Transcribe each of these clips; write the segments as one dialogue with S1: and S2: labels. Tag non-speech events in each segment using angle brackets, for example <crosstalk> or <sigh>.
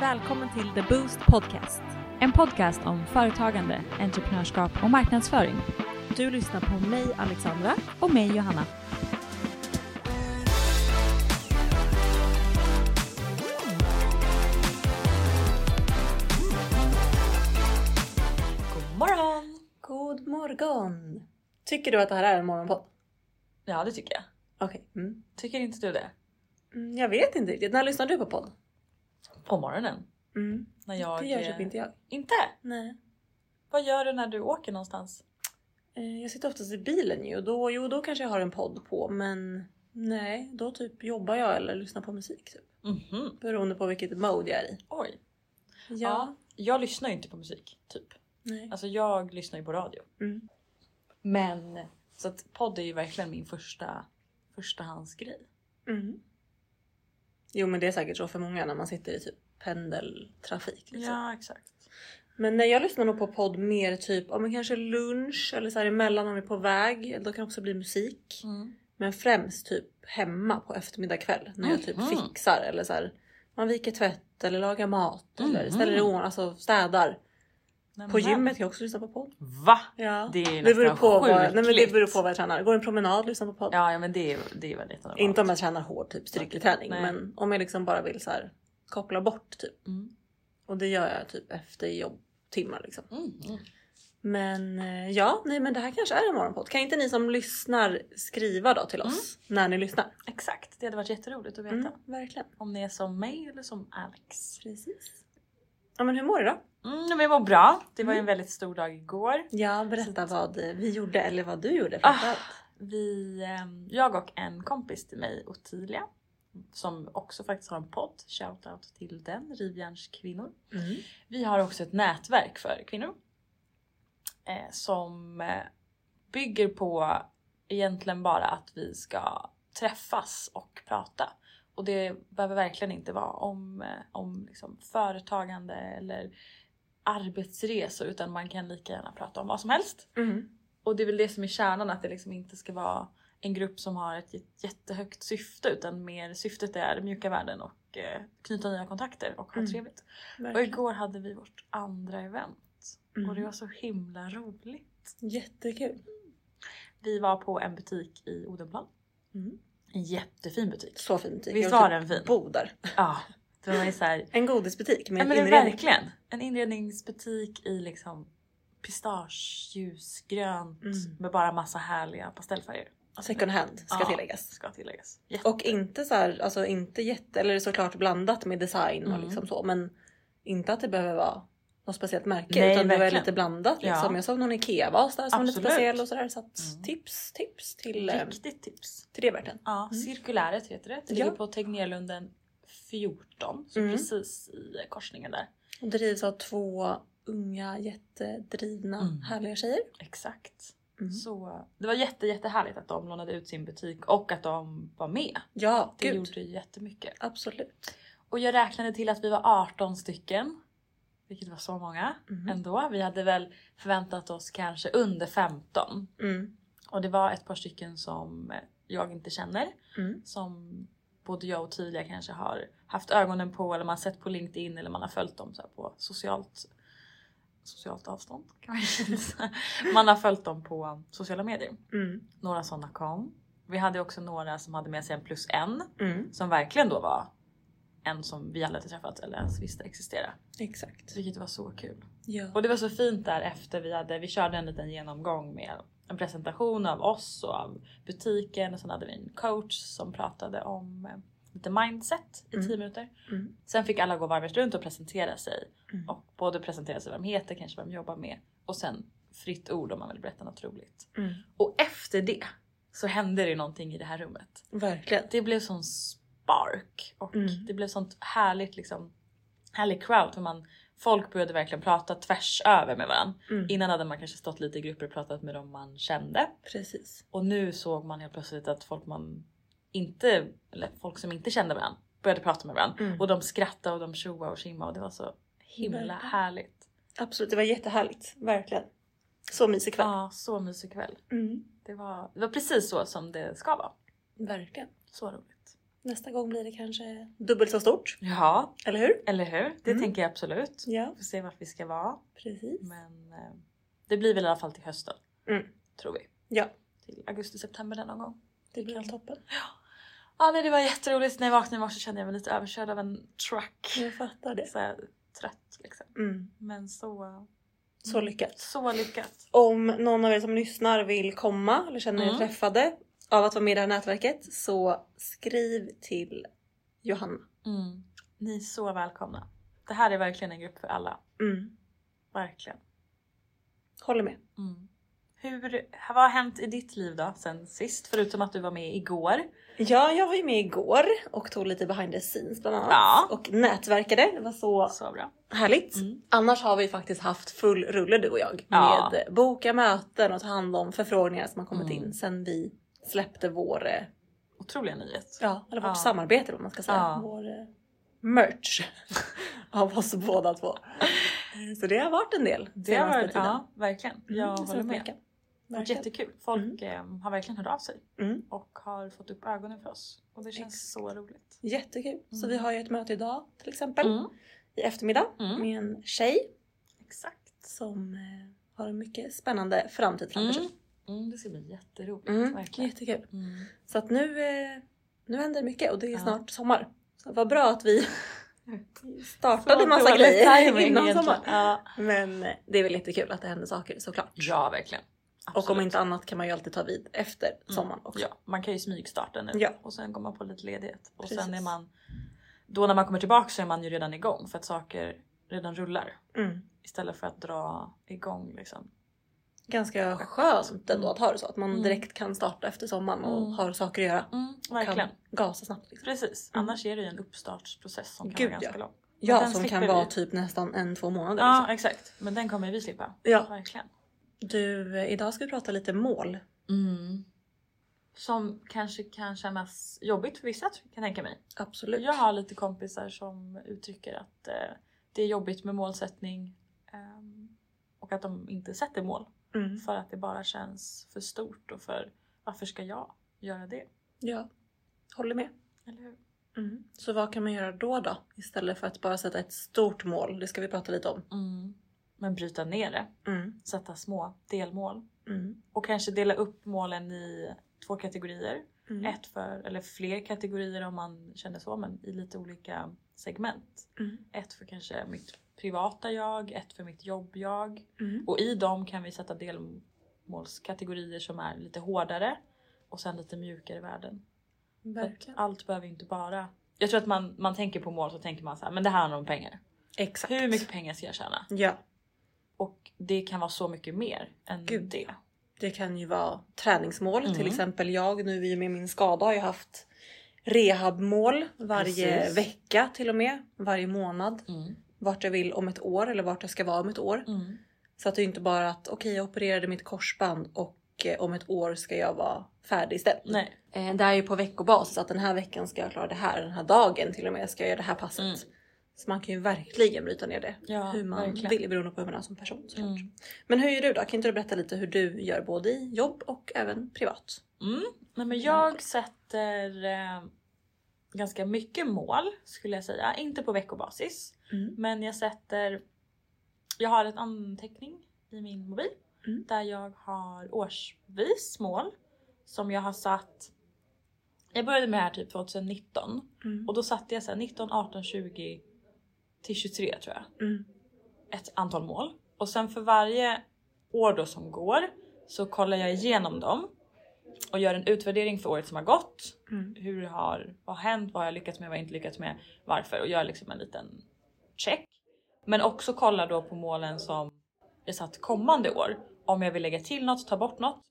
S1: Välkommen till The Boost Podcast. En podcast om företagande, entreprenörskap och marknadsföring. Du lyssnar på mig Alexandra och mig Johanna. God morgon!
S2: God morgon! Tycker du att det här är en morgonpodd?
S1: Ja, det tycker jag.
S2: Okej. Mm.
S1: Tycker inte du det?
S2: Mm, jag vet inte riktigt. När lyssnar du på podd?
S1: På morgonen?
S2: Mm.
S1: När jag...
S2: Det gör typ
S1: eh,
S2: inte jag.
S1: Inte?
S2: Nej.
S1: Vad gör du när du åker någonstans?
S2: Eh, Jag sitter oftast i bilen ju och då, jo, då kanske jag har en podd på men nej, då typ jobbar jag eller lyssnar på musik. Typ.
S1: Mhm.
S2: Beroende på vilket mode jag är i.
S1: Oj.
S2: Ja.
S1: Jag lyssnar ju inte på musik, typ.
S2: Nej.
S1: Alltså jag lyssnar ju på radio.
S2: Mm.
S1: Men så att podd är ju verkligen min första förstahandsgrej.
S2: Mm. Jo men det är säkert så för många när man sitter i typ pendeltrafik. Liksom.
S1: exakt.
S2: Men nej, jag lyssnar nog på podd mer typ ja, men kanske lunch eller så här emellan om vi är på väg. Då kan det också bli musik.
S1: Mm.
S2: Men främst typ hemma på eftermiddag kväll när jag typ
S1: Mhm.
S2: fixar eller så här, man viker tvätt eller lagar mat eller
S1: Mhm.
S2: ställer i ordning, alltså städar.
S1: Nej,
S2: På
S1: men-
S2: gymmet kan jag också lyssna på podd.
S1: Va?
S2: Ja.
S1: Det är ju
S2: Det beror,
S1: nästan
S2: på vad, nej,
S1: sjukligt.
S2: men det beror på vad jag tränar. Går en promenad lyssnar på podd.
S1: Ja, ja men det är, det är väldigt normalt.
S2: Inte om jag tränar hård typ styrketräning
S1: Nej.
S2: men om jag liksom bara vill så här, koppla bort typ.
S1: Mm.
S2: Och det gör jag typ efter jobbtimmar liksom.
S1: Mm. mm.
S2: Men eh, ja, nej men det här kanske är en morgonpodd. Kan inte ni som lyssnar skriva då till oss
S1: Mm.
S2: när ni lyssnar?
S1: Exakt, det hade varit jätteroligt att veta.
S2: Mm, verkligen.
S1: Om ni är som mig eller som Alex.
S2: Precis. Ja men hur mår du då?
S1: Mm, men jag mår bra. Det var ju en
S2: Mm.
S1: väldigt stor dag igår.
S2: Ja, berätta vad vi gjorde eller vad du gjorde
S1: Ah.
S2: framförallt.
S1: Vi, ehm, jag och en kompis till mig, Ottilia, som också faktiskt har en podd. Shoutout till den, Rivjärnskvinnor.
S2: Mm.
S1: Vi har också ett nätverk för kvinnor. Eh, som eh, bygger på egentligen bara att vi ska träffas och prata. Och det behöver verkligen inte vara om, eh, om liksom företagande eller arbetsresor utan man kan lika gärna prata om vad som helst.
S2: Mm.
S1: Och det är väl det som är kärnan att det liksom inte ska vara en grupp som har ett jät- jättehögt syfte utan mer syftet är mjuka värden och eh, knyta nya kontakter och ha
S2: Mm.
S1: trevligt. Och
S2: verkligen.
S1: igår hade vi vårt andra event och det
S2: Mm.
S1: var så himla roligt.
S2: Jättekul.
S1: Vi var på en butik i Odenplan.
S2: Mm.
S1: En jättefin butik.
S2: Så fin butik.
S1: Visst
S2: Jag
S1: var
S2: typ
S1: den fin?
S2: Bo där.
S1: Ja, det var ju <laughs> såhär,
S2: En godisbutik med
S1: ja, men det är
S2: inredning.
S1: verkligen en inredningsbutik i liksom pistageljusgrönt
S2: Mm.
S1: med bara massa härliga pastellfärger.
S2: Second hand ska
S1: Ja.
S2: tilläggas.
S1: Ska tilläggas. Jätte-
S2: Och inte så här, alltså inte jätte, eller såklart blandat med design och
S1: Mm.
S2: liksom så men inte att det behöver vara något speciellt märke
S1: Nej,
S2: utan det var
S1: verkligen.
S2: lite blandat
S1: Ja.
S2: liksom. Jag såg någon IKEA-vas där som var lite
S1: Absolut.
S2: speciell och sådär. Så att
S1: Mm.
S2: tips, tips till, eh,
S1: Riktigt tips.
S2: till det världen.
S1: Ja,
S2: Mm.
S1: Cirkuläret heter det.
S2: Ja.
S1: Det ligger på Tegnérlunden 14, så
S2: Mm.
S1: precis i korsningen där.
S2: Och drivs av två unga jättedrivna
S1: Mm.
S2: härliga tjejer.
S1: Exakt.
S2: Mm.
S1: Så det var jätte, jättehärligt att de lånade ut sin butik och att de var med.
S2: Ja,
S1: Det
S2: gud.
S1: gjorde ju jättemycket.
S2: Absolut.
S1: Och jag räknade till att vi var 18 stycken. Vilket var så många
S2: Mhm.
S1: ändå. Vi hade väl förväntat oss kanske under 15.
S2: Mm.
S1: Och det var ett par stycken som jag inte känner.
S2: Mm.
S1: Som både jag och Tilia kanske har haft ögonen på eller man har sett på LinkedIn eller man har följt dem så här på socialt, socialt avstånd. Kan man, säga. <laughs> man har följt dem på sociala medier.
S2: Mm.
S1: Några sådana kom. Vi hade också några som hade med sig en plus en
S2: Mm.
S1: som verkligen då var en som vi aldrig hade träffat eller ens visste existera.
S2: Exakt.
S1: Vilket var så kul.
S2: Ja.
S1: Och det var så fint där efter vi hade, vi körde en liten genomgång med en presentation av oss och av butiken och sen hade vi en coach som pratade om eh, lite mindset i
S2: Mm.
S1: 10 minuter.
S2: Mm.
S1: Sen fick alla gå varvet runt och presentera sig
S2: Mm.
S1: och både presentera sig vad de heter, kanske vad de jobbar med och sen fritt ord om man vill berätta något roligt.
S2: Mm.
S1: Och efter det så hände det ju någonting i det här rummet.
S2: Verkligen.
S1: Det blev sån spark och
S2: Mm.
S1: det blev sånt härligt liksom härlig crowd. För man, folk började verkligen prata tvärs över med varandra.
S2: Mm.
S1: Innan hade man kanske stått lite i grupper och pratat med dem man kände.
S2: Precis.
S1: Och nu såg man helt plötsligt att folk, man inte, eller folk som inte kände varandra började prata med varandra.
S2: Mm.
S1: Och de skrattade och de tjoade och tjimmade och det var så himla
S2: Verkligen.
S1: härligt.
S2: Absolut, det var jättehärligt. Verkligen. Så mysig kväll.
S1: Ja, så mysig kväll.
S2: Mm.
S1: Det var, det var precis så som det ska vara.
S2: Verkligen.
S1: Så roligt.
S2: Nästa gång blir det kanske dubbelt så stort,
S1: Ja,
S2: eller hur?
S1: eller hur? Det
S2: Mm.
S1: tänker jag absolut.
S2: Ja,
S1: Vi får se vart vi ska vara.
S2: precis.
S1: Men eh, det blir väl i alla fall till hösten.
S2: Mm.
S1: Tror vi.
S2: Ja,
S1: Till augusti-september där någon gång.
S2: det blir väl toppen.
S1: Ja, nej, det var jätteroligt. När jag vaknade i morse kände jag mig lite överkörd av en truck.
S2: Jag fattar det.
S1: Så här, trött liksom.
S2: Mm.
S1: Men så... eh,
S2: Så lyckat.
S1: Så lyckat.
S2: Om någon av er som lyssnar vill komma eller känner er
S1: Mm.
S2: träffade av att vara med i det här nätverket så skriv till Johanna.
S1: Mm. Ni är så välkomna. Det här är verkligen en grupp för alla.
S2: Mm.
S1: Verkligen.
S2: Håller med.
S1: Mm. Hur, vad har hänt i ditt liv då sen sist? Förutom att du var med igår.
S2: Ja, jag var ju med igår och tog lite behind the scenes bland annat.
S1: Ja.
S2: Och nätverkade. Det var så
S1: Så bra.
S2: härligt.
S1: Mm.
S2: Annars har vi faktiskt haft full rulle du och jag.
S1: Ja.
S2: Med boka möten och ta hand om förfrågningar som har kommit
S1: Mm.
S2: in sen vi släppte vår, eh,
S1: Otroliga nyhet.
S2: ja, eller vårt
S1: Ja.
S2: samarbete vad man ska säga.
S1: Ja.
S2: Vår eh, merch <laughs> av oss båda två. Eh, Så det har varit en del
S1: Det har varit, ja, verkligen. Jag
S2: Mm,
S1: håller
S2: senaste
S1: med.
S2: veckan.
S1: Det har varit
S2: Verkligen.
S1: jättekul. Folk eh, har verkligen hört av sig
S2: Mm.
S1: och har fått upp ögonen för oss. Och det känns så roligt.
S2: Jättekul. Så
S1: Mm.
S2: vi har ju ett möte idag till exempel i eftermiddag
S1: Mm.
S2: med en tjej
S1: Exakt.
S2: som eh, har en mycket spännande framtid framför sig.
S1: Mm. Mm, det ska bli jätteroligt.
S2: Mm,
S1: Verkligen.
S2: jättekul.
S1: Mm.
S2: Så att nu, eh, nu händer mycket och det är
S1: Ja.
S2: snart sommar. Så vad bra att
S1: <laughs>
S2: vi startade en massa
S1: dålig
S2: grejer <laughs>
S1: timing
S2: innan
S1: egentligen.
S2: sommar.
S1: Ja.
S2: Men eh, det är väl jättekul att det händer saker såklart.
S1: ja, verkligen.
S2: Och om
S1: Absolut. Mm.
S2: inte annat kan man ju alltid ta vid efter sommaren också.
S1: Ja, man kan ju smygstarta nu
S2: Ja.
S1: och sen går man på lite ledighet. Och sen
S2: Precis.
S1: är man, då när man kommer tillbaka så är man ju redan igång för att saker redan rullar.
S2: Mm.
S1: Istället för att dra igång liksom.
S2: Ganska skönt ändå att ha det så. Att man
S1: Mm.
S2: direkt kan starta efter sommaren och
S1: Mm.
S2: har saker att göra.
S1: Mm,
S2: Kan
S1: verkligen.
S2: gasa snabbt. Liksom.
S1: Precis,
S2: Mm.
S1: annars är det ju en uppstartsprocess som kan
S2: Gud,
S1: vara ganska lång. Men
S2: Ja,
S1: den
S2: som
S1: slipper
S2: kan
S1: vi.
S2: vara typ nästan en, två månader.
S1: Ja exakt, men den kommer vi slippa.
S2: liksom. ja.
S1: Verkligen.
S2: Du, eh, idag ska vi prata lite mål. Mm.
S1: Som kanske kan kännas jobbigt för vissa kan jag tänka mig.
S2: Absolut.
S1: Jag har lite kompisar som uttrycker att eh, det är jobbigt med målsättning ehm, och att de inte sätter mål
S2: Mm.
S1: för att det bara känns för stort och för varför ska jag göra det?
S2: ja. Håller med.
S1: Eller hur?
S2: Mm. Så vad kan man göra då då? Istället för att bara sätta ett stort mål. Det ska vi prata lite om.
S1: Men bryta ner det,
S2: Mm.
S1: sätta små delmål
S2: Mm.
S1: och kanske dela upp målen i två kategorier.
S2: Mm.
S1: Ett för, eller fler kategorier om man känner så, men i lite olika segment.
S2: Mm.
S1: Ett för kanske mitt privata jag, ett för mitt jobb-jag.
S2: Mm.
S1: Och i dem kan vi sätta delmålskategorier som är lite hårdare och sen lite mjukare värden. För att
S2: Verkligen.
S1: allt behöver inte bara... Jag tror att man, man tänker på mål så tänker man så här, men det här handlar om pengar.
S2: Exakt.
S1: Hur mycket pengar ska jag tjäna?
S2: Ja.
S1: Och det kan vara så mycket mer än
S2: Gud,
S1: det.
S2: Det kan ju vara träningsmål.
S1: Mm.
S2: Till exempel jag nu i och med min skada har jag haft rehabmål varje
S1: Precis.
S2: vecka till och med. Varje månad.
S1: Mm.
S2: Vart jag vill om ett år eller vart jag ska vara om ett år.
S1: Mm.
S2: Så att det är inte bara att okej jag opererade mitt korsband och eh, om ett år ska jag vara färdig istället.
S1: Nej.
S2: Eh, Det här är ju på veckobas så att den här veckan ska jag klara det här. Den här dagen till och med ska jag göra det här passet.
S1: Mm.
S2: Så man kan ju verkligen bryta ner det.
S1: Ja,
S2: hur man
S1: verkligen.
S2: vill beroende på hur man är som person såklart.
S1: Mm.
S2: Men hur gör du då? Kan inte du berätta lite hur du gör både i jobb och även privat?
S1: Mm. Nej, men jag sätter eh, ganska mycket mål skulle jag säga. Inte på veckobasis.
S2: Mm.
S1: Men jag sätter... Jag har en anteckning i min mobil
S2: Mm.
S1: där jag har årsvis mål som jag har satt. Jag började med det här typ 2019
S2: Mm.
S1: och då satte jag så här 19, 18, 20 till 23 tror jag.
S2: Mm.
S1: Ett antal mål och sen för varje år då som går så kollar jag igenom dem och gör en utvärdering för året som har gått
S2: Mm.
S1: hur har, vad har hänt, vad har jag lyckats med, vad har jag inte lyckats med, varför och gör liksom en liten check. Men också kolla då på målen som jag satt kommande år. Om jag vill lägga till något, ta bort något.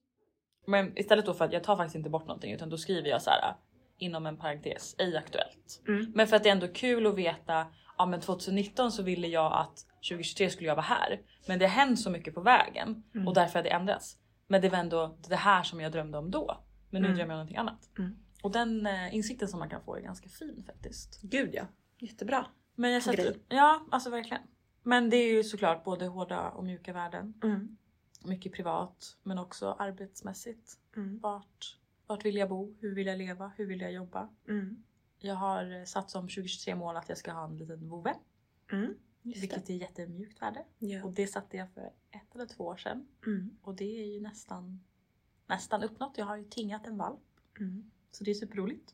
S1: Men istället då för att jag tar faktiskt inte bort någonting utan då skriver jag så här inom en parentes, ej aktuellt.
S2: Mm.
S1: Men för att det är ändå kul att veta, ja men 2019 så ville jag att 2023 skulle jag vara här. Men det har hänt så mycket på vägen
S2: Mm.
S1: och därför har det ändrats. Men det var ändå det här som jag drömde om då. Men nu
S2: Mm.
S1: drömmer jag om någonting annat.
S2: Mm.
S1: Och den eh, insikten som man kan få är ganska fin faktiskt.
S2: Gud ja, jättebra.
S1: Men jag sätter,
S2: Grej.
S1: Ja, alltså verkligen. Men det är ju såklart både hårda och mjuka värden.
S2: Mm.
S1: Mycket privat men också arbetsmässigt.
S2: Mm.
S1: Vart, vart vill jag bo? Hur vill jag leva? Hur vill jag jobba?
S2: Mm.
S1: Jag har eh, satt som 2023 mål att jag ska ha en liten vovve.
S2: Mm, just
S1: Vilket är jättemjukt värde.
S2: det. Ja.
S1: Och det satte jag för ett eller två år sedan.
S2: Mm,
S1: Och det är ju nästan, nästan uppnått. Jag har ju tingat en valp.
S2: mm.
S1: Så det är superroligt.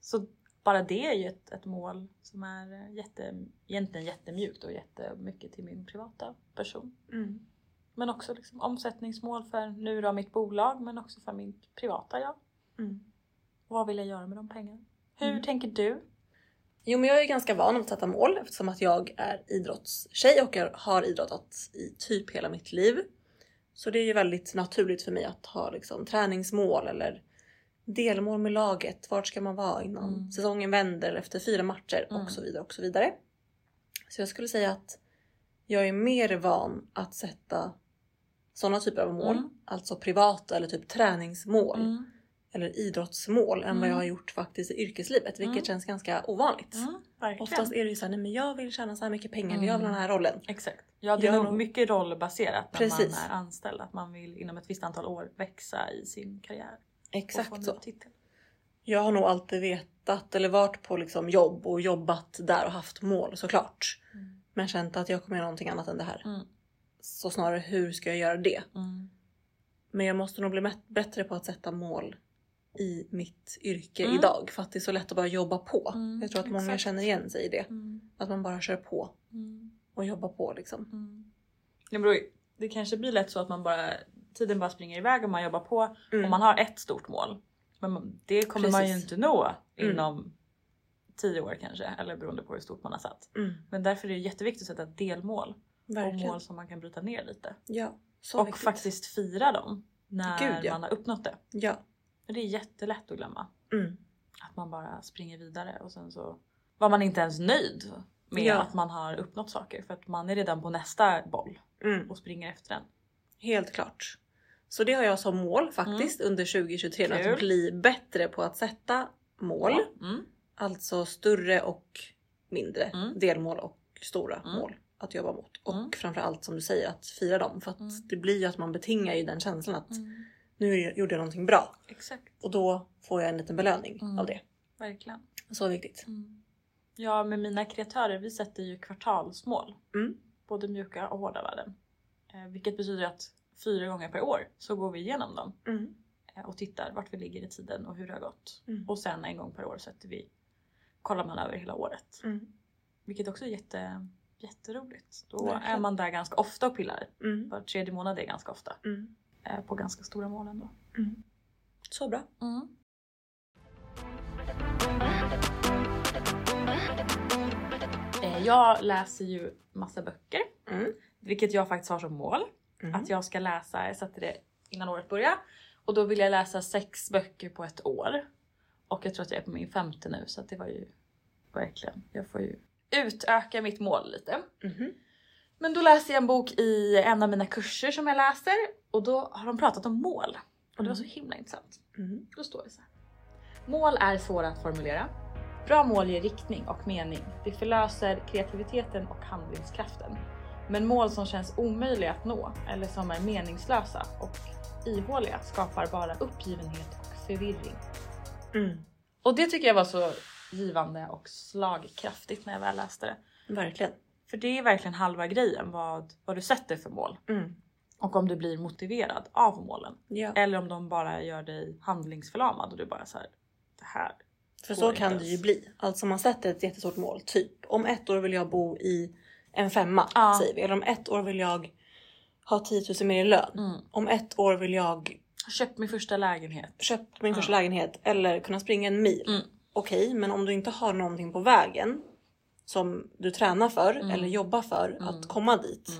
S1: Så bara det är ju ett, ett mål som är eh, jätte, egentligen jättemjukt och jättemycket till min privata person.
S2: Mm.
S1: Men också liksom omsättningsmål för nu då mitt bolag men också för min privata jag.
S2: Mm.
S1: Vad vill jag göra med de pengarna? Hur
S2: Mm.
S1: tänker du?
S2: Jo men jag är ganska van att sätta mål eftersom att jag är idrottstjej och jag har idrottat i typ hela mitt liv. Så det är ju väldigt naturligt för mig att ha liksom träningsmål eller delmål med laget. Vart ska man vara innan
S1: Mm.
S2: säsongen vänder eller efter fyra matcher
S1: Mm.
S2: och så vidare och så vidare. Så jag skulle säga att jag är mer van att sätta sådana typer av mål.
S1: Mm.
S2: Alltså privata eller typ träningsmål
S1: Mm.
S2: eller idrottsmål än
S1: Mm.
S2: vad jag har gjort faktiskt i yrkeslivet vilket
S1: Mm.
S2: känns ganska ovanligt.
S1: Mm, verkligen.
S2: Oftast är det ju såhär, nej men jag vill tjäna så här mycket pengar,
S1: Mm.
S2: jag vill ha den här rollen.
S1: Exakt. Ja det är
S2: Ja,
S1: nog
S2: då-
S1: mycket rollbaserat när
S2: Precis.
S1: man är anställd. Att man vill inom ett visst antal år växa i sin karriär. och få en
S2: Exakt
S1: ny
S2: så.
S1: Titel.
S2: Jag har nog alltid vetat eller varit på liksom jobb och jobbat där och haft mål såklart.
S1: Mm.
S2: Men känt att jag kommer göra någonting annat än det här.
S1: Mm.
S2: Så snarare hur ska jag göra det?
S1: Mm.
S2: Men jag måste nog bli mätt- bättre på att sätta mål i mitt yrke
S1: Mm.
S2: idag. För att det är så lätt att bara jobba på.
S1: Mm,
S2: jag tror att många
S1: exakt.
S2: känner igen sig i det.
S1: Mm.
S2: Att man bara kör på
S1: Mm.
S2: och jobbar på liksom.
S1: Mm. Det, beror, ju- det kanske blir lätt så att man bara, tiden bara springer iväg och man jobbar på
S2: Mm.
S1: och man har ett stort mål. Men man- det kommer man ju
S2: Precis.
S1: inte nå
S2: Mm.
S1: inom 10 år kanske eller beroende på hur stort man har satt.
S2: Mm.
S1: Men därför är det jätteviktigt att sätta delmål och
S2: Verkligen.
S1: mål som man kan bryta ner lite.
S2: Ja. Så
S1: och
S2: viktigt.
S1: faktiskt fira dem när
S2: Gud, ja.
S1: man har uppnått det.
S2: Ja.
S1: För det är jättelätt att glömma.
S2: Mm.
S1: Att man bara springer vidare och sen så var man inte ens nöjd med
S2: Ja.
S1: att man har uppnått saker för att man är redan på nästa boll
S2: Mm.
S1: och springer efter den.
S2: Helt klart. Så det har jag som mål faktiskt under 2023. nu,
S1: Mm. Kul.
S2: Att bli bättre på att sätta mål.
S1: Mm.
S2: Alltså större och mindre
S1: Mm.
S2: delmål och stora
S1: Mm.
S2: mål att jobba mot. Och
S1: Mm.
S2: framförallt som du säger att fira dem. För att
S1: Mm.
S2: det blir ju att man betingar ju den känslan att nu gjorde jag någonting bra.
S1: Exakt,
S2: Och då får jag en liten belöning
S1: Mm.
S2: av det.
S1: verkligen. Mm.
S2: Så viktigt.
S1: Ja, med mina kreatörer, vi sätter ju kvartalsmål.
S2: Mm.
S1: Både mjuka och hårda värden. Eh, vilket betyder att fyra gånger per år så går vi igenom dem
S2: Mm.
S1: eh, och tittar vart vi ligger i tiden och hur det har gått.
S2: Mm.
S1: Och sen en gång per år sätter vi, kollar man över hela året.
S2: Mm.
S1: Vilket också är jätte, jätteroligt. Då
S2: Verkligen.
S1: är man där ganska ofta och pillar.
S2: Mm.
S1: Var tredje månad är ganska ofta.
S2: Mm.
S1: Eh, på ganska stora mål ändå.
S2: Mm. Så bra.
S1: Eh, Jag läser ju massa böcker,
S2: Mm.
S1: vilket jag faktiskt har som mål.
S2: Mm.
S1: Att jag ska läsa, jag satte det innan året började, och då vill jag läsa sex böcker på ett år. Och jag tror att jag är på min femte nu så att det var ju verkligen, jag får ju utöka mitt mål lite.
S2: Mhm.
S1: Men då läser jag en bok i en av mina kurser som jag läser och då har de pratat om mål. Och det var så himla intressant.
S2: Mm.
S1: Då står det så här. Mål är svåra att formulera. Bra mål ger riktning och mening. Det förlöser kreativiteten och handlingskraften. Men mål som känns omöjliga att nå eller som är meningslösa och ihåliga skapar bara uppgivenhet och förvirring.
S2: Mm.
S1: Och det tycker jag var så givande och slagkraftigt när jag väl läste det.
S2: Verkligen.
S1: För det är verkligen halva grejen vad, vad du sätter för mål
S2: Mm.
S1: och om du blir motiverad av målen.
S2: Ja.
S1: Eller om de bara gör dig handlingsförlamad och du bara så här, det här
S2: För
S1: Går
S2: så
S1: inte
S2: kan
S1: ens.
S2: det ju bli. Alltså man sätter ett jättestort mål. Typ om ett år vill jag bo i en femma
S1: Ja.
S2: säger vi. Eller om ett år vill jag ha 10 000 mer i lön.
S1: Mm.
S2: Om ett år vill jag
S1: Köpt min första lägenhet.
S2: köpa min
S1: Ja.
S2: första lägenhet eller kunna springa en mil.
S1: Mm.
S2: Okej, men om du inte har någonting på vägen som du tränar för
S1: Mm.
S2: eller jobbar för
S1: Mm.
S2: att komma dit.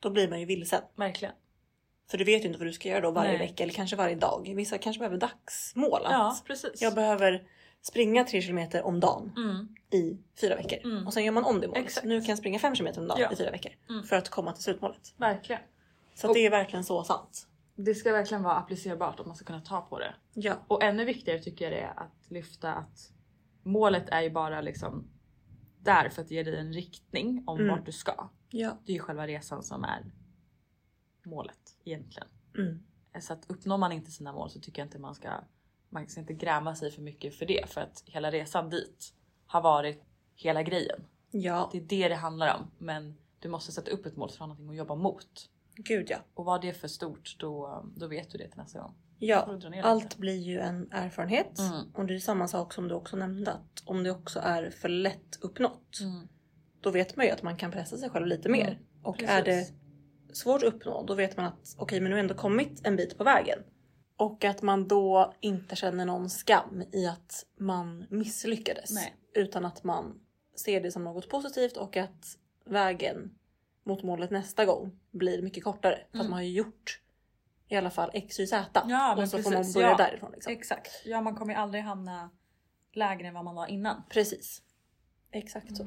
S2: Då blir man ju vilsen.
S1: Verkligen.
S2: För du vet ju inte vad du ska göra då varje
S1: Nej.
S2: vecka eller kanske varje dag. Vissa kanske behöver dagsmål. Att
S1: Ja, precis.
S2: Jag behöver springa 3 kilometer om dagen.
S1: mm.
S2: i fyra veckor.
S1: Mm.
S2: Och sen gör man om det målet.
S1: Exakt.
S2: Nu kan jag springa fem kilometer om dagen
S1: Ja.
S2: i fyra veckor.
S1: Mm.
S2: För att komma till slutmålet.
S1: Verkligen.
S2: Så
S1: Och-
S2: att det är verkligen så sant.
S1: Det ska verkligen vara applicerbart om man ska kunna ta på det.
S2: Ja.
S1: Och ännu viktigare tycker jag det är att lyfta att målet är ju bara liksom där för att ge dig en riktning om
S2: Mm.
S1: vart du ska.
S2: ja.
S1: Det är ju själva resan som är målet egentligen.
S2: Mm.
S1: Så att uppnår man inte sina mål så tycker jag inte man ska man ska inte gräma sig för mycket för det för att hela resan dit har varit hela grejen.
S2: Ja,
S1: Det är det det handlar om, men du måste sätta upp ett mål så du har någonting att jobba mot.
S2: gud ja.
S1: Och var det för stort då, då vet du det till nästa gång. Då får
S2: Ja,
S1: du dra ner det
S2: allt
S1: lite.
S2: blir ju en erfarenhet.
S1: Mm.
S2: Och det är samma sak som du också nämnde att om det också är för lätt uppnått
S1: Mm.
S2: då vet man ju att man kan pressa sig själv lite mer.
S1: Mm,
S2: Och
S1: precis.
S2: är det svårt att uppnå då vet man att okej men nu har jag ändå kommit en bit på vägen. Och att man då inte känner någon skam i att man misslyckades.
S1: Nej.
S2: Utan att man ser det som något positivt och att vägen mot målet nästa gång blir mycket kortare. För att
S1: Mm.
S2: man har ju gjort i alla fall x, y, z.
S1: Ja,
S2: och
S1: men
S2: så får man
S1: precis,
S2: börja
S1: ja.
S2: därifrån. Liksom.
S1: Exakt. Ja, man kommer ju aldrig hamna lägre än vad man var innan.
S2: Precis. Exakt så.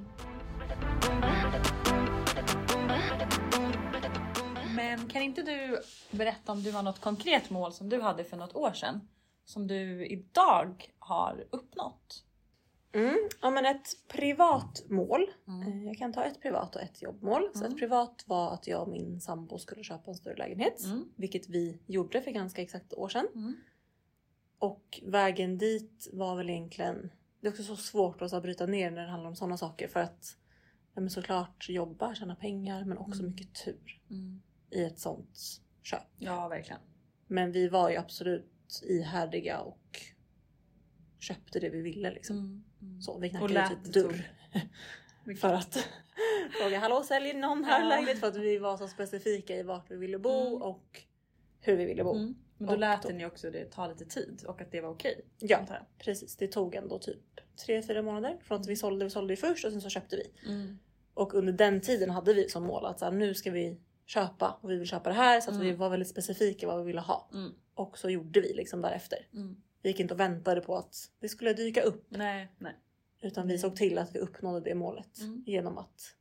S1: Men kan inte du berätta om du har något konkret mål som du hade för något år sedan som du idag har uppnått?
S2: Mm. Ja men ett privat mål
S1: Mm.
S2: Eh, Jag kan ta ett privat och ett jobbmål. Så
S1: Mm.
S2: ett privat var att jag och min sambo skulle köpa en större lägenhet.
S1: Mm.
S2: Vilket vi gjorde för ganska exakt ett år sedan.
S1: Mm.
S2: Och vägen dit var väl egentligen... Det är också så svårt att så här bryta ner när det handlar om sådana saker. För att ja, men såklart jobba, tjäna pengar men också
S1: Mm.
S2: mycket tur
S1: Mm.
S2: i ett sånt köp.
S1: Ja, verkligen.
S2: Men vi var ju absolut ihärdiga och köpte det vi ville liksom.
S1: Mm. Mm.
S2: Så vi
S1: Och
S2: knackade
S1: lät
S2: ut ett
S1: det
S2: dörr.
S1: <laughs>
S2: För att <laughs> fråga hallå säljer någon här
S1: Ja.
S2: lägenhet? För att vi var så specifika i vart vi ville bo
S1: Mm.
S2: och hur vi ville bo.
S1: Mm. Men då
S2: Och
S1: lät
S2: då-
S1: den ju också det ta lite tid och att det var okej.
S2: Ja
S1: antar jag.
S2: precis, det tog ändå typ 3-4 månader från att vi sålde. Vi sålde ju först och sen så köpte vi.
S1: Mm.
S2: Och under den tiden hade vi som mål att så här, nu ska vi köpa och vi vill köpa det här. Så att
S1: Mm.
S2: vi var väldigt specifika vad vi ville ha.
S1: Mm.
S2: Och så gjorde vi liksom därefter.
S1: Mm.
S2: Vi gick inte och väntade på att det skulle dyka upp
S1: Nej, nej.
S2: Utan vi såg till att vi uppnådde det målet
S1: Mm.
S2: genom att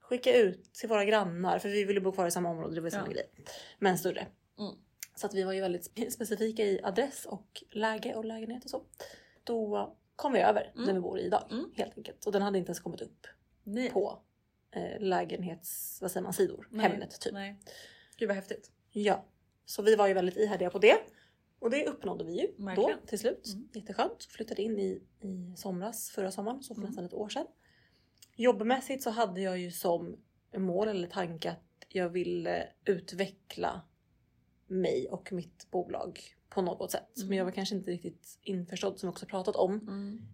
S2: skicka ut till våra grannar, för vi ville bo kvar i samma område, det var samma
S1: Ja.
S2: grej. Men större.
S1: Mm.
S2: Så att vi var ju väldigt spe- specifika i adress och läge och lägenhet och så. Då kom vi över
S1: Mm.
S2: där vi bor idag
S1: Mm.
S2: helt enkelt. Och den hade inte ens kommit upp
S1: Nej.
S2: på eh, lägenhets, vad säger man, sidor,
S1: Nej.
S2: Hemnet typ.
S1: Nej. Gud vad häftigt.
S2: Ja. Så vi var ju väldigt ihärdiga på det. Och det uppnådde vi ju
S1: Verkligen.
S2: då till slut.
S1: Mm.
S2: Jätteskönt. Flyttade in i, i somras, förra sommaren, så för
S1: Mm.
S2: nästan ett år sedan. Jobbmässigt så hade jag ju som mål eller tanke att jag ville utveckla mig och mitt bolag på något sätt.
S1: Mm.
S2: Men jag var kanske inte riktigt införstådd som vi också pratat om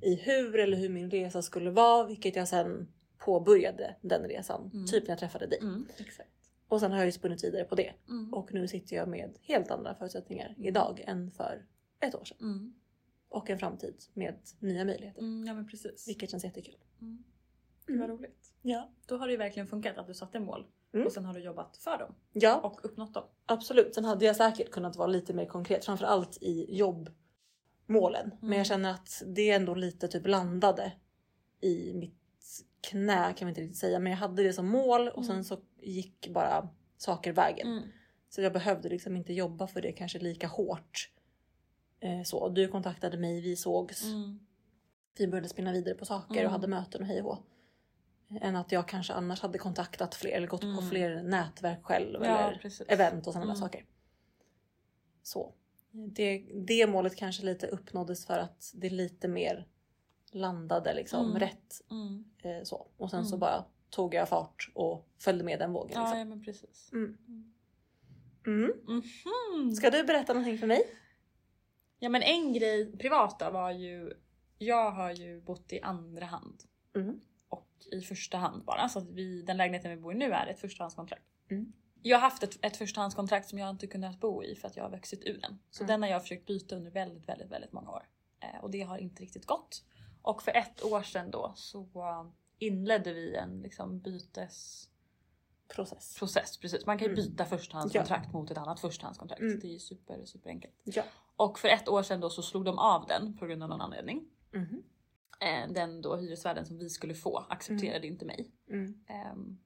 S2: i hur eller hur min resa skulle vara, vilket jag sen påbörjade den resan.
S1: Mm.
S2: Typ när jag träffade dig.
S1: Mm. Exakt.
S2: Och sen har jag ju spunnit vidare på det.
S1: Mm.
S2: Och nu sitter jag med helt andra förutsättningar idag än för ett år sedan.
S1: Mm.
S2: Och en framtid med nya möjligheter.
S1: Mm. Ja men precis.
S2: Vilket känns jättekul.
S1: Mm. Gud vad roligt.
S2: Ja.
S1: Då har det ju verkligen funkat att du satte mål
S2: Mm.
S1: och sen har du jobbat för dem
S2: ja,
S1: och uppnått dem.
S2: absolut. Sen hade jag säkert kunnat vara lite mer konkret. Framförallt i jobbmålen. Men
S1: Mm.
S2: jag känner att det ändå lite typ landade i mitt knä kan vi inte riktigt säga. Men jag hade det som mål och
S1: Mm.
S2: sen så gick bara saker vägen.
S1: Mm.
S2: Så jag behövde liksom inte jobba för det kanske lika hårt. Eh, så, du kontaktade mig, vi sågs. vi började spinna vidare på saker
S1: Mm.
S2: och hade möten och hej och hå. Än att jag kanske annars hade kontaktat fler eller gått på
S1: Mm.
S2: fler nätverk själv
S1: Ja
S2: eller
S1: precis.
S2: event och sådana där
S1: Mm.
S2: saker. Så. Det, det målet kanske lite uppnåddes för att det lite mer landade liksom
S1: Mm.
S2: rätt.
S1: Mm.
S2: Eh, så. Och sen så
S1: Mm.
S2: bara tog jag fart och följde med den vågen.
S1: Ja,
S2: Liksom.
S1: ja men precis.
S2: Mm.
S1: Mm.
S2: Mm.
S1: Mhm.
S2: Ska du berätta någonting för mig?
S1: Ja men en grej privat då var ju, jag har ju bott i andra hand
S2: Mm.
S1: och i första hand bara. Så att vi, den lägenheten vi bor i nu är ett förstahandskontrakt.
S2: Mm.
S1: Jag har haft ett, ett förstahandskontrakt som jag inte kunnat bo i för att jag har vuxit ur den. Så
S2: Mm.
S1: den har jag försökt byta under väldigt, väldigt, väldigt många år. Eh, och det har inte riktigt gått. Och för ett år sedan då så eh, inledde vi en liksom bytesprocess.
S2: Process.
S1: Precis, man kan ju
S2: Mm.
S1: byta förstahandskontrakt mot ett annat förstahandskontrakt.
S2: Mm.
S1: Det är ju super, super enkelt.
S2: Ja.
S1: Och för ett år sedan då så slog de av den på grund av någon anledning.
S2: Mhm.
S1: Eh, Den då hyresvärden som vi skulle få accepterade inte mig.
S2: Mm.
S1: Ehm,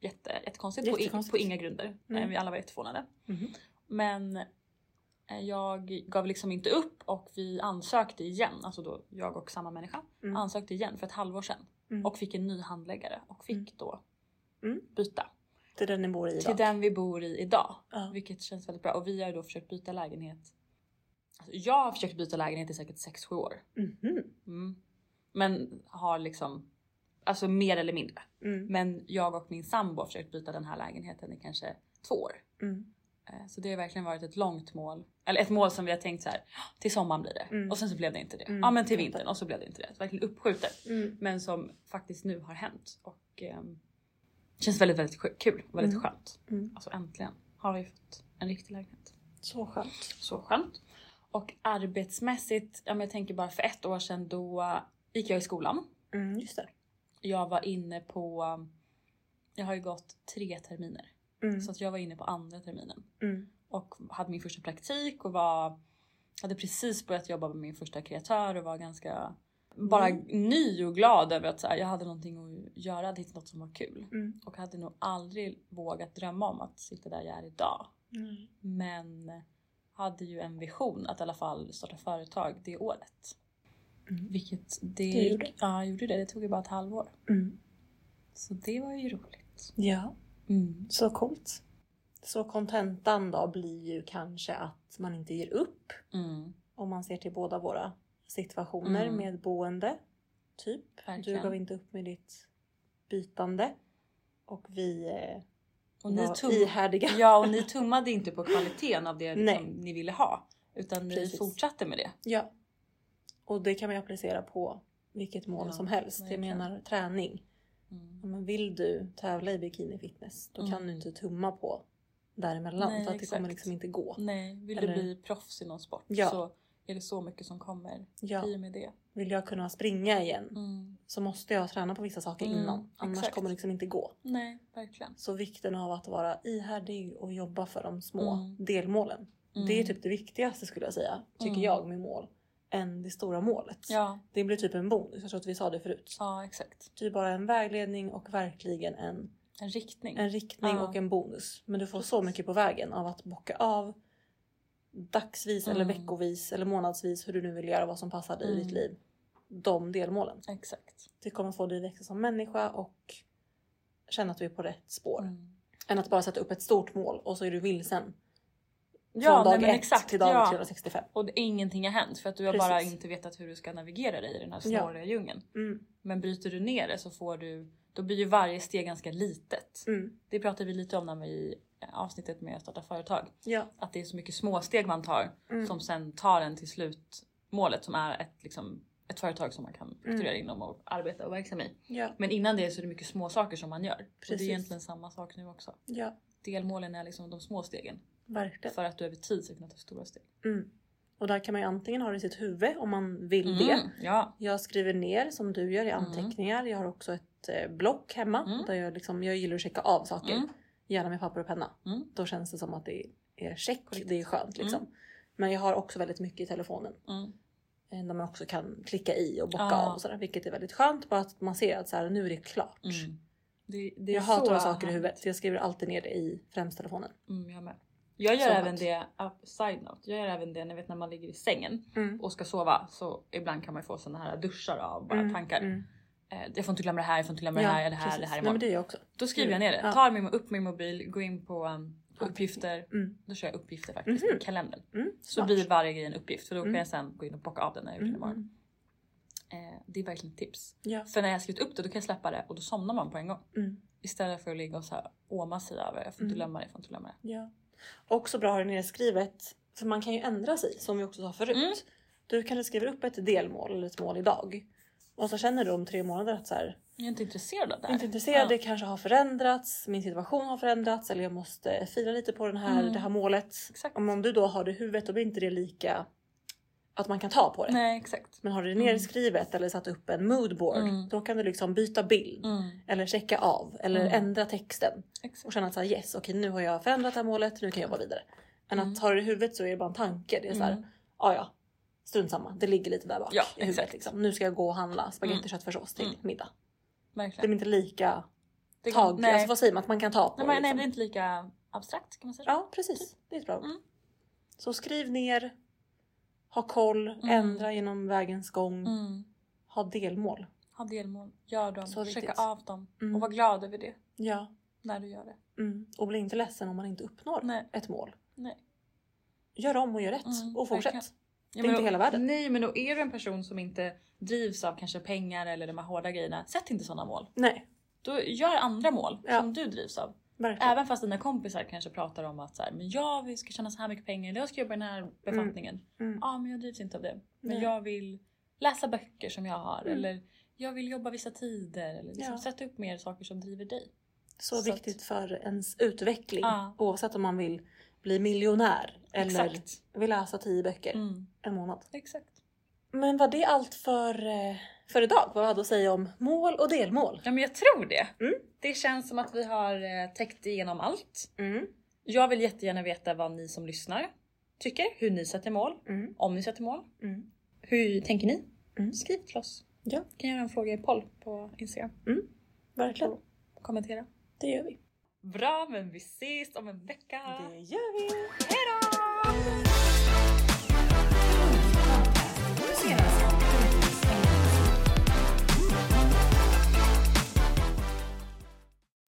S1: Jätte, jättekonstigt, på, i,
S2: Jättekonstigt. Mm.
S1: på inga grunder.
S2: Nej.
S1: Eh, Vi alla var jätteförvånade.
S2: Mhm.
S1: Men eh, jag gav liksom inte upp och vi ansökte igen, alltså då jag och samma människa,
S2: Mm.
S1: ansökte igen för ett halvår sedan.
S2: Mm.
S1: Och fick en ny handläggare och fick
S2: Mm.
S1: då
S2: Mm.
S1: byta
S2: Det är den ni bor i idag.
S1: till den vi bor i idag.
S2: Ja.
S1: Vilket känns väldigt bra och vi har ju då försökt byta lägenhet Alltså, jag har försökt byta lägenhet i säkert 6-7 år.
S2: Mhm.
S1: Mm. Men har liksom, alltså mer eller mindre.
S2: Mm.
S1: Men jag och min sambo har försökt byta den här lägenheten i kanske två år.
S2: Mm.
S1: Eh, Så det har verkligen varit ett långt mål. Eller ett mål som vi har tänkt så här, "Åh, till sommaren blir det.
S2: Mm.
S1: Och sen så blev det inte det.
S2: Mm,
S1: Ja men till
S2: fattar.
S1: vintern och så blev det inte det. Verkligen uppskjutet.
S2: Mm.
S1: Men som faktiskt nu har hänt. Och ehm, känns väldigt, väldigt sj- kul. och Väldigt
S2: Mm.
S1: skönt.
S2: Mm.
S1: Alltså äntligen har vi fått en riktig lägenhet.
S2: Så skönt.
S1: Så skönt. Och arbetsmässigt, ja men jag tänker bara för ett år sedan då gick jag i skolan.
S2: Mm. Just det.
S1: Jag var inne på, jag har ju gått tre terminer.
S2: Mm.
S1: Så att jag var inne på andra terminen.
S2: Mm.
S1: Och hade min första praktik och var, hade precis börjat jobba med min första kreatör och var ganska bara
S2: Mm.
S1: ny och glad över att så här, jag hade någonting att göra, hade hittat något som var kul.
S2: Mm.
S1: Och hade nog aldrig vågat drömma om att sitta där jag är idag.
S2: Mm.
S1: Men hade ju en vision att i alla fall starta företag det året.
S2: Mm.
S1: Vilket det,
S2: Det gjorde.
S1: Ja, jag gjorde det. Det tog ju bara ett halvår.
S2: Mm.
S1: Så det var ju roligt.
S2: Ja. Så coolt. Så kontentan då blir ju kanske att man inte ger upp
S1: Mm.
S2: om man ser till båda våra situationer
S1: Mm.
S2: med boende. Typ.
S1: Verkligen.
S2: Du gav inte upp med ditt bytande. Och vi eh,
S1: Och ni
S2: var
S1: tog...
S2: ihärdiga.
S1: Ja, och ni tummade inte på kvaliteten av det liksom,
S2: Nej.
S1: ni ville ha. Utan ni
S2: Precis.
S1: fortsatte med det.
S2: Ja. Och det kan man ju applicera på vilket mål
S1: Ja,
S2: som helst.
S1: verkligen.
S2: Jag menar träning. Ja, men vill du tävla i bikini fitness då
S1: Mm.
S2: kan du inte tumma på däremellan.
S1: Nej,
S2: för att det kommer
S1: exakt. Mm,
S2: liksom inte gå.
S1: Nej, vill
S2: Eller-
S1: du bli proffs i någon sport
S2: Ja.
S1: så är det så mycket som kommer
S2: Ja.
S1: i och med det.
S2: Vill jag kunna springa igen
S1: Mm.
S2: så måste jag träna på vissa saker
S1: Mm,
S2: innan. Annars
S1: exakt.
S2: kommer det liksom inte gå.
S1: Nej, verkligen.
S2: Så vikten av att vara ihärdig och jobba för de små
S1: Mm.
S2: delmålen.
S1: Mm.
S2: Det är typ det viktigaste skulle jag säga, tycker
S1: Mm.
S2: jag med mål. Än det stora målet.
S1: Ja,
S2: Det blir typ en bonus, jag tror att vi sa det förut.
S1: ja exakt.
S2: Det är bara en vägledning och verkligen en,
S1: En riktning.
S2: en riktning
S1: Ja.
S2: och en bonus. Men du får så mycket på vägen av att bocka av dagsvis eller
S1: Mm.
S2: veckovis eller månadsvis hur du nu vill göra vad som passar dig i
S1: Mm.
S2: ditt liv. De delmålen.
S1: Exakt.
S2: Det kommer få dig att växa som människa och känna att du är på rätt spår.
S1: Mm.
S2: Än att bara sätta upp ett stort mål och så är du vilsen.
S1: Ja,
S2: från dag
S1: nej, men
S2: ett
S1: exakt.
S2: till dag
S1: ja.
S2: 365.
S1: Och det, ingenting har hänt för att du har bara
S2: Precis.
S1: inte vetat hur du ska navigera dig i den här
S2: Ja.
S1: snåriga djungeln.
S2: Mm,
S1: Men bryter du ner det så får du, då blir ju varje steg ganska litet.
S2: mm,
S1: Det pratade vi lite om när vi i avsnittet med att starta företag.
S2: ja.
S1: Att det är så mycket småsteg man tar
S2: Mm,
S1: som sen tar en till slutmålet som är ett, liksom, ett företag som man kan
S2: Mm.
S1: strukturera inom och arbeta och verksam i.
S2: ja,
S1: Men innan det så är det mycket små saker som man gör. Och det
S2: Precis.
S1: är egentligen samma sak nu också.
S2: ja,
S1: Delmålen är liksom de små stegen
S2: verkligen.
S1: för att du över tid ska kunna ta stora steg.
S2: Mm. Och där kan man ju antingen ha det i sitt huvud om man vill det.
S1: Mm, ja.
S2: Jag skriver ner som du gör i
S1: Mm.
S2: anteckningar. Jag har också ett eh, block hemma
S1: Mm.
S2: där jag, liksom, jag gillar att checka av saker.
S1: Mm.
S2: Gärna med papper och penna.
S1: Mm.
S2: Då känns det som att det är check.
S1: Korrekt.
S2: Det är skönt liksom. Men jag har också väldigt mycket i telefonen.
S1: Mm.
S2: eh, Där man också kan klicka i och bocka
S1: Ja.
S2: av och sådär. Vilket är väldigt skönt. Bara att man ser att så här, nu är det klart.
S1: Mm. Det, det är
S2: jag hatar
S1: så
S2: att ha saker i
S1: härligt.
S2: huvudet. så Jag skriver alltid ner det i främst telefonen.
S1: Mm, jag med. Jag gör
S2: Så
S1: även
S2: att-
S1: det, up, side note, jag gör även det ni vet när man ligger i sängen
S2: Mm.
S1: och ska sova så ibland kan man ju få såna här duschar av bara tankar.
S2: Mm.
S1: Eh, Jag får inte glömma det här, jag får inte glömma det här, det här,
S2: precis.
S1: det här
S2: Nej,
S1: imorgon.
S2: men det gör jag också.
S1: Då skriver jag ner det.
S2: Ja.
S1: Tar min, upp min mobil, går in på um, uppgifter.
S2: Mm.
S1: Då kör jag uppgifter faktiskt i kalendern.
S2: Mm.
S1: Så
S2: Smart.
S1: blir varje grej en uppgift för då
S2: Mm.
S1: kan jag sen gå in och bocka av den när jag gjort
S2: Mm,
S1: den imorgon. Eh, det är verkligen ett tips.
S2: Ja.
S1: För när jag har skrivit upp det då kan jag släppa det och då somnar man på en gång.
S2: Mm.
S1: Istället för att ligga och så här åma sig över jag får inte
S2: Mm.
S1: glömma det, jag får inte glömma det.
S2: ja. Också bra att ha det nedskrivet. För man kan ju ändra sig som vi också sa förut.
S1: Mm.
S2: Du kanske skriver upp ett delmål eller ett mål idag. Och så känner du om tre månader att så här,
S1: Jag är inte intresserad av
S2: jag
S1: det
S2: är
S1: här.
S2: inte intresserad,
S1: Ja.
S2: det kanske har förändrats, min situation har förändrats eller jag måste fila lite på den här,
S1: Mm.
S2: det här målet.
S1: Exakt.
S2: Om, om du då har det i huvudet då blir inte det lika att man kan ta på det.
S1: Nej exakt.
S2: Men har du det nedskrivet eller satt upp en moodboard
S1: Mm.
S2: då kan du liksom byta bild
S1: Mm,
S2: eller checka av eller
S1: Mm.
S2: ändra texten. och
S1: exakt.
S2: känna att så här, yes, okej nu har jag förändrat det här målet, nu kan jag jobba vidare. Än
S1: Mm.
S2: att ha det i huvudet så är det bara en tanke. Det är så här,
S1: Mm.
S2: ja ja, strunt samma. Det ligger lite där bak
S1: Ja,
S2: i huvudet.
S1: exakt.
S2: Liksom. Nu ska jag gå och handla spagetti
S1: Mm.
S2: köttfärssås till
S1: Mm.
S2: middag. Det
S1: Verkligen.
S2: blir inte lika
S1: Det går-
S2: tag,
S1: nej.
S2: alltså, vad säger man, att man kan ta på
S1: nej, men,
S2: det.
S1: nej,
S2: Liksom.
S1: det är inte lika abstrakt kan man säga.
S2: Ja precis, det är ett bra ord.
S1: Mm.
S2: Så skriv ner, ha koll, ändra genom vägens gång,
S1: Mm.
S2: ha delmål.
S1: Ha delmål, gör dem,
S2: Så
S1: checka
S2: viktigt.
S1: av dem
S2: Mm.
S1: och var glad över det
S2: Ja.
S1: när du gör det.
S2: Mm. Och bli inte ledsen om man inte uppnår
S1: Nej.
S2: ett mål.
S1: Nej.
S2: Gör om och gör rätt
S1: Mm,
S2: och fortsätt.
S1: verkligen.
S2: Det är inte
S1: men-
S2: hela världen.
S1: Nej men då är du en person som inte drivs av kanske pengar eller de här hårda grejerna. Sätt inte sådana mål.
S2: Nej,
S1: Då gör andra mål
S2: Ja.
S1: som du drivs av.
S2: verkligen.
S1: Även fast dina kompisar kanske pratar om att så här, men jag vill- ska tjäna så här mycket pengar eller jag ska jobba i den här befattningen.
S2: Mm.
S1: Ja men jag drivs inte av det. Men
S2: Nej.
S1: jag vill läsa böcker som jag har
S2: Mm.
S1: eller jag vill jobba vissa tider. Eller liksom
S2: Ja.
S1: Sätt upp mer saker som driver dig.
S2: Så,
S1: Så att-
S2: viktigt för ens utveckling.
S1: Ja.
S2: Oavsett om man vill bli miljonär eller
S1: Exakt.
S2: vill läsa tio böcker
S1: Mm.
S2: en månad.
S1: Exakt.
S2: Men var det allt för, eh, för idag? Vad vi hade att säga om mål och delmål?
S1: Ja men jag tror det.
S2: Mm.
S1: Det känns som att vi har eh, täckt igenom allt.
S2: Mm.
S1: Jag vill jättegärna veta vad ni som lyssnar tycker, hur ni sätter mål,
S2: Mm.
S1: om ni sätter mål.
S2: Mm.
S1: Hur tänker ni?
S2: Mm.
S1: Skriv till oss.
S2: Ja.
S1: Vi kan göra en fråga i poll på Instagram.
S2: Verkligen,
S1: Kommentera.
S2: det gör vi.
S1: Bra, men vi ses om en vecka.
S2: Det gör vi!
S1: Hejdå!
S2: Ses.